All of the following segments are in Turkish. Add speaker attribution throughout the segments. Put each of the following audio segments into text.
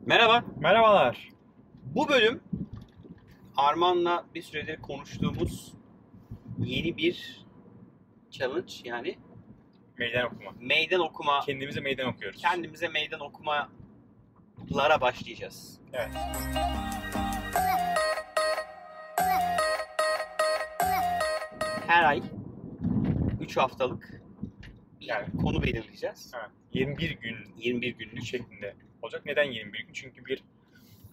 Speaker 1: Merhaba.
Speaker 2: Merhabalar.
Speaker 1: Bu bölüm Arman'la bir süredir konuştuğumuz yeni bir challenge yani
Speaker 2: Meydan okuma.
Speaker 1: meydan okuma,
Speaker 2: Kendimize meydan okuyoruz.
Speaker 1: kendimize meydan okumalara başlayacağız.
Speaker 2: Evet.
Speaker 1: Her ay 3 haftalık bir
Speaker 2: Evet.
Speaker 1: konu belirleyeceğiz.
Speaker 2: Evet. 21 gün
Speaker 1: 21 günlük.
Speaker 2: şeklinde olacak. Neden 21 gün? Çünkü bir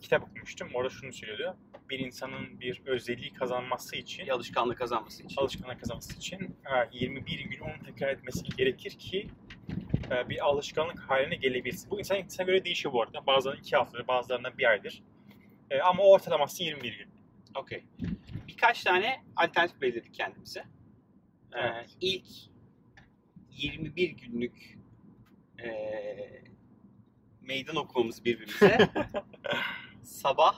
Speaker 2: kitap okumuştum. Orada şunu söylüyordu. Bir insanın bir özelliği kazanması için,
Speaker 1: Bir alışkanlık kazanması için.
Speaker 2: alışkanlık kazanması için e, 21 gün onu tekrar etmesi gerekir ki e, bir alışkanlık haline gelebilsin. Bu insan insana göre değişiyor bu arada. Bazılarının 2 haftadır, bazılarından bir aydır. E, Ama ortalaması 21 gün.
Speaker 1: Okey. Birkaç tane alternatif belirledik kendimize. Ee,
Speaker 2: Evet.
Speaker 1: ilk 21 günlük ee, meydan okumamız birbirimize sabah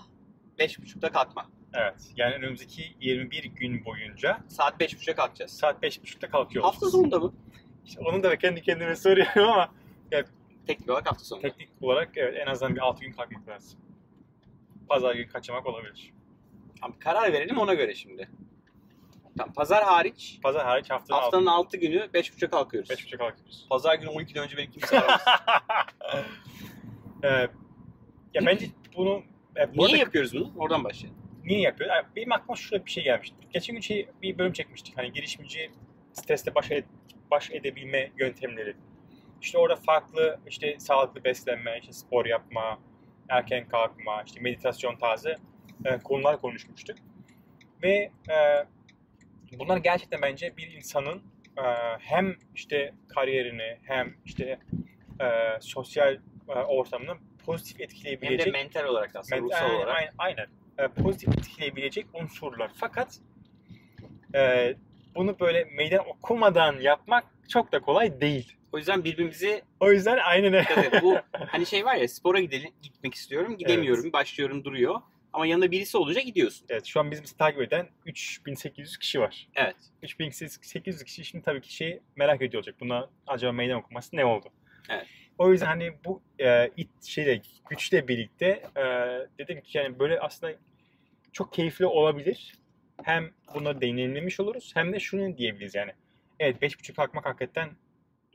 Speaker 1: 5.30'da kalkma.
Speaker 2: Evet. Yani önümüzdeki 21 gün boyunca
Speaker 1: Saat 5.30'a kalkacağız.
Speaker 2: saat 5.30'da kalkıyoruz.
Speaker 1: Hafta sonunda mı?
Speaker 2: İşte onu da kendi kendime soruyorum ama
Speaker 1: Teknik olarak hafta sonunda.
Speaker 2: teknik olarak evet, en azından bir 6 gün kalkmak lazım. Pazar günü kaçamak olabilir.
Speaker 1: Tamam, karar verelim ona göre şimdi. Tamam, pazar hariç
Speaker 2: Pazar hariç haftanın,
Speaker 1: haftanın
Speaker 2: haftanın
Speaker 1: 6 günü 5.30'a kalkıyoruz.
Speaker 2: 5.30'a kalkıyoruz.
Speaker 1: Pazar günü 12'den önce beni kimse aramaz.
Speaker 2: Ee, ya bence bunu e, bu
Speaker 1: Niye
Speaker 2: arada
Speaker 1: yapıyoruz bunu? Oradan başlayalım.
Speaker 2: niye yapıyor? Yani benim aklıma şöyle bir şey gelmişti. Geçen gün şey, bir bölüm çekmiştik. Hani girişimci stresle baş, ed- baş edebilme yöntemleri. İşte orada farklı işte sağlıklı beslenme, işte spor yapma, erken kalkma, işte meditasyon tarzı e, konular konuşmuştuk. Ve e, bunlar gerçekten bence bir insanın e, hem işte kariyerini hem işte e, sosyal e, ortamını pozitif
Speaker 1: Hem de
Speaker 2: etkileyebilecek
Speaker 1: mental olarak aslında,
Speaker 2: Mental-
Speaker 1: ruhsal olarak.
Speaker 2: Aynen. aynen. Ee, pozitif etkileyebilecek unsurlar. Fakat e, bunu böyle meydan okumadan yapmak çok da kolay değil.
Speaker 1: O yüzden birbirimizi
Speaker 2: O yüzden aynen öyle.
Speaker 1: dikkat edelim. bu hani şey var ya spora gidelim gitmek istiyorum gidemiyorum başlıyorum duruyor ama yanında birisi olunca gidiyorsun.
Speaker 2: Evet şu an bizim takip eden 3800 kişi var.
Speaker 1: Evet.
Speaker 2: 3800 kişi şimdi tabii ki şey merak ediyor olacak. Buna acaba meydan okuması ne oldu?
Speaker 1: Evet.
Speaker 2: O yüzden hani bu e, it şeyle güçle birlikte e, dedim ki yani böyle aslında çok keyifli olabilir. Hem bunu deneyimlemiş oluruz hem de şunu diyebiliriz yani. Evet 5.5 kalkmak hakikaten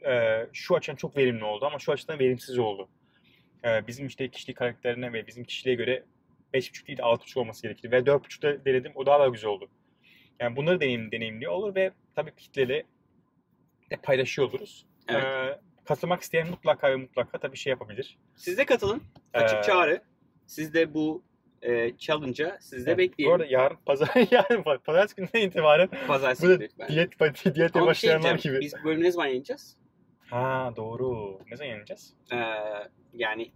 Speaker 2: e, şu açıdan çok verimli oldu ama şu açıdan verimsiz oldu. E, bizim işte kişilik karakterine ve bizim kişiliğe göre 5.5 değil de 6.5 olması gerekir. Ve 4.5'da denedim o daha da güzel oldu. Yani bunları deneyim, deneyimli olur ve tabii kitleli de paylaşıyor oluruz.
Speaker 1: Evet.
Speaker 2: Ee, katılmak isteyen mutlaka ve mutlaka tabii şey yapabilir.
Speaker 1: Siz de katılın. Açık
Speaker 2: Ee,
Speaker 1: çağrı. Siz de bu e, challenge'a siz de
Speaker 2: evet. Bu
Speaker 1: bekleyin.
Speaker 2: arada yarın pazar, yarın pa- pazartesi gününden itibaren
Speaker 1: Pazartesi
Speaker 2: bu da
Speaker 1: günü lütfen.
Speaker 2: diyet, pa- diyete
Speaker 1: Ama bir şey
Speaker 2: başlayanlar
Speaker 1: diyeceğim,
Speaker 2: gibi.
Speaker 1: Biz bu bölümü ne zaman yayınlayacağız?
Speaker 2: Ha doğru. Ne zaman yeneceğiz?
Speaker 1: Ee, yani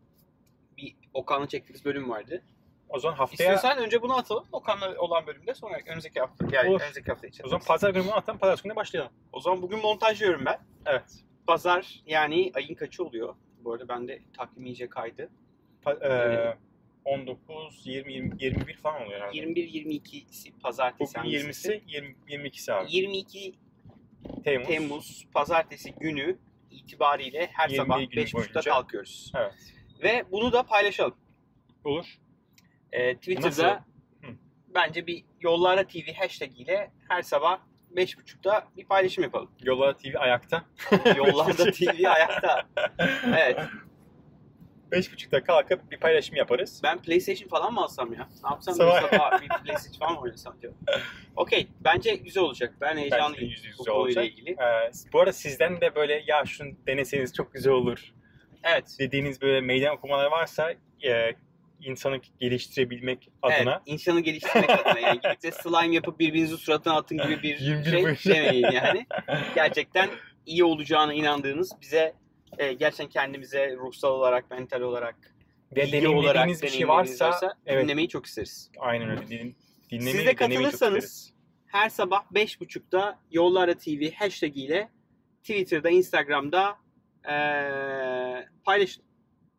Speaker 1: bir Okan'la çektiğimiz bölüm vardı.
Speaker 2: O zaman haftaya
Speaker 1: İstiyorsan önce bunu atalım. Okan'la olan bölümde sonra önümüzdeki hafta. Yani
Speaker 2: Olur.
Speaker 1: önümüzdeki hafta için.
Speaker 2: o zaman pazar günü bunu atalım pazartesi günü başlayalım.
Speaker 1: o zaman bugün montajlıyorum ben.
Speaker 2: Evet.
Speaker 1: Pazar yani ayın kaçı oluyor? Bu arada bende takvim iyice kaydı.
Speaker 2: Pa- e, 19, 20, 20, 21 falan oluyor herhalde.
Speaker 1: 21-22'si pazartesi.
Speaker 2: Bugün
Speaker 1: hangisi?
Speaker 2: 20'si, 20, 22'si abi.
Speaker 1: 22
Speaker 2: Temmuz.
Speaker 1: Temmuz pazartesi günü itibariyle her
Speaker 2: 21
Speaker 1: sabah
Speaker 2: günü
Speaker 1: 5.30'da
Speaker 2: boyunca.
Speaker 1: kalkıyoruz.
Speaker 2: Evet.
Speaker 1: Ve bunu da paylaşalım.
Speaker 2: Olur.
Speaker 1: Ee, Twitter'da
Speaker 2: Hı.
Speaker 1: bence bir Yollara TV hashtag ile her sabah 5.30'da bir paylaşım yapalım.
Speaker 2: Yola TV ayakta.
Speaker 1: Yollarda TV ayakta. Evet.
Speaker 2: Beş buçukta kalkıp bir paylaşım yaparız.
Speaker 1: Ben PlayStation falan mı alsam ya? Ne yapsam
Speaker 2: Sabah.
Speaker 1: sabah, sabah bir PlayStation falan mı oynasam diyor. Okey. Bence güzel olacak. Ben
Speaker 2: Bence de
Speaker 1: heyecanlıyım
Speaker 2: yüzde yüz
Speaker 1: bu
Speaker 2: güzel
Speaker 1: konuyla
Speaker 2: olacak.
Speaker 1: ilgili.
Speaker 2: Ee, bu arada sizden de böyle ya şunu deneseniz çok güzel olur
Speaker 1: Evet.
Speaker 2: dediğiniz böyle meydan okumalar varsa e, insanı geliştirebilmek adına
Speaker 1: Evet, insanı geliştirmek adına yani gidip de slime yapıp birbirinizin suratına atın gibi bir
Speaker 2: 21 boyunca.
Speaker 1: şey demeyin yani. Gerçekten iyi olacağına inandığınız bize e, gerçekten kendimize ruhsal olarak, mental olarak,
Speaker 2: ve
Speaker 1: bilgi olarak
Speaker 2: deneyimlediğiniz bir şey varsa, evet
Speaker 1: dinlemeyi çok isteriz.
Speaker 2: aynen öyle din, dinlemeyi
Speaker 1: Siz
Speaker 2: ve
Speaker 1: de
Speaker 2: denemeyi çok isteriz.
Speaker 1: katılırsanız her sabah 5.30'da Yollara TV hashtag ile Twitter'da, Instagram'da e, paylaşın.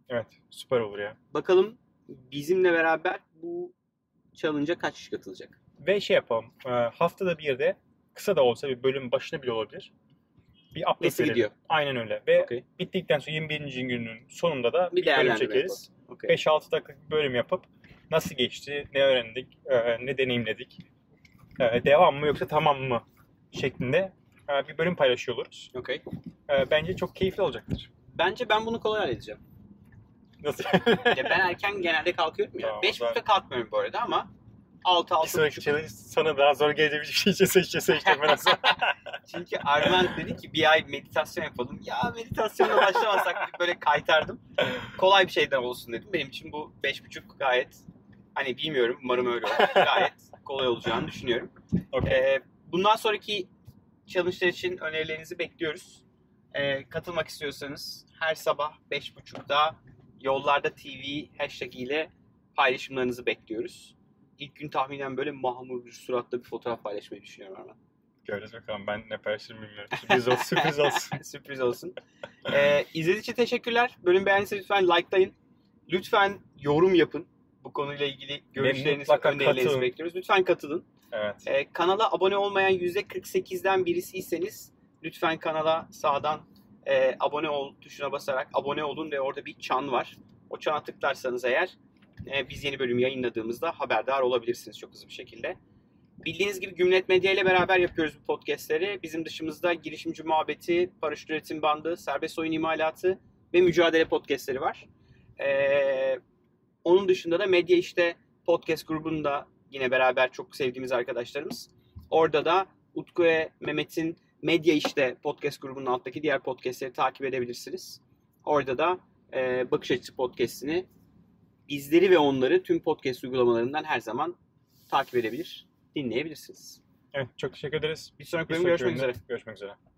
Speaker 2: Evet süper olur ya.
Speaker 1: Bakalım bizimle beraber bu challenge'a kaç kişi katılacak?
Speaker 2: Ve şey yapalım e, haftada bir de kısa da olsa bir bölüm başına bile olabilir. Bir update
Speaker 1: Nasıl
Speaker 2: verelim.
Speaker 1: gidiyor?
Speaker 2: Aynen öyle. Ve
Speaker 1: Okey.
Speaker 2: bittikten sonra 21. günün sonunda da
Speaker 1: Bir
Speaker 2: E, bir bölüm
Speaker 1: değerlendirme
Speaker 2: çekeriz.
Speaker 1: Okey.
Speaker 2: 5-6 dakikalık bir bölüm yapıp nasıl geçti, ne öğrendik, e, ne deneyimledik, e, devam mı yoksa tamam mı şeklinde e, bir bölüm paylaşıyor oluruz.
Speaker 1: Okey.
Speaker 2: E, Bence çok keyifli olacaktır.
Speaker 1: Bence ben bunu kolay halledeceğim.
Speaker 2: Nasıl?
Speaker 1: Ya ben erken genelde kalkıyorum ya.
Speaker 2: Tamam,
Speaker 1: Beş
Speaker 2: ben-
Speaker 1: buçukta kalkmıyorum bu arada ama
Speaker 2: Bir
Speaker 1: 6
Speaker 2: sonraki
Speaker 1: buçuk.
Speaker 2: challenge sana daha zor gelebilecek şey seçe seçe seçe ben aslında.
Speaker 1: Çünkü Arman dedi ki bir ay meditasyon yapalım. Ya meditasyona başlamasak deyip böyle kaytardım. Kolay bir şeyden olsun dedim. Benim için bu beş buçuk gayet hani bilmiyorum umarım öyle olur. Gayet kolay olacağını düşünüyorum.
Speaker 2: Okey.
Speaker 1: Ee, bundan sonraki challenge'lar için önerilerinizi bekliyoruz. Ee, katılmak istiyorsanız her sabah 5.30'da Yollarda TV hashtag ile paylaşımlarınızı bekliyoruz. İlk gün tahminen böyle mahmur bir suratla bir fotoğraf paylaşmayı düşünüyorum Arman.
Speaker 2: Göreceğiz bakalım ben ne paylaşırım bilmiyorum. Sürpriz olsun sürpriz olsun.
Speaker 1: Sürpriz olsun. Ee, izlediğiniz için teşekkürler. Bölüm beğendiyseniz lütfen likelayın. Lütfen yorum yapın. Bu konuyla ilgili görüşlerinizi,
Speaker 2: mutlaka
Speaker 1: önerilerinizi
Speaker 2: katılın.
Speaker 1: bekliyoruz. Lütfen katılın.
Speaker 2: Evet.
Speaker 1: Ee, kanala abone olmayan %48'den birisiyseniz lütfen kanala sağdan e, abone ol tuşuna basarak abone olun ve orada bir çan var. O çana tıklarsanız eğer e, biz yeni bölüm yayınladığımızda haberdar olabilirsiniz çok hızlı bir şekilde. Bildiğiniz gibi Gümlet Medya ile beraber yapıyoruz bu podcastleri. Bizim dışımızda girişimci muhabbeti, paraşüt üretim bandı, serbest oyun imalatı ve mücadele podcastleri var. Ee, onun dışında da medya işte podcast grubunda yine beraber çok sevdiğimiz arkadaşlarımız. Orada da Utku ve Mehmet'in Medya İşte podcast grubunun alttaki diğer podcastleri takip edebilirsiniz. Orada da e, Bakış Açısı podcastini bizleri ve onları tüm podcast uygulamalarından her zaman takip edebilir, dinleyebilirsiniz.
Speaker 2: Evet çok teşekkür ederiz.
Speaker 1: Bir sonraki
Speaker 2: Bir
Speaker 1: bölümde
Speaker 2: sonraki
Speaker 1: görüşmek
Speaker 2: bölümde
Speaker 1: üzere.
Speaker 2: Görüşmek üzere.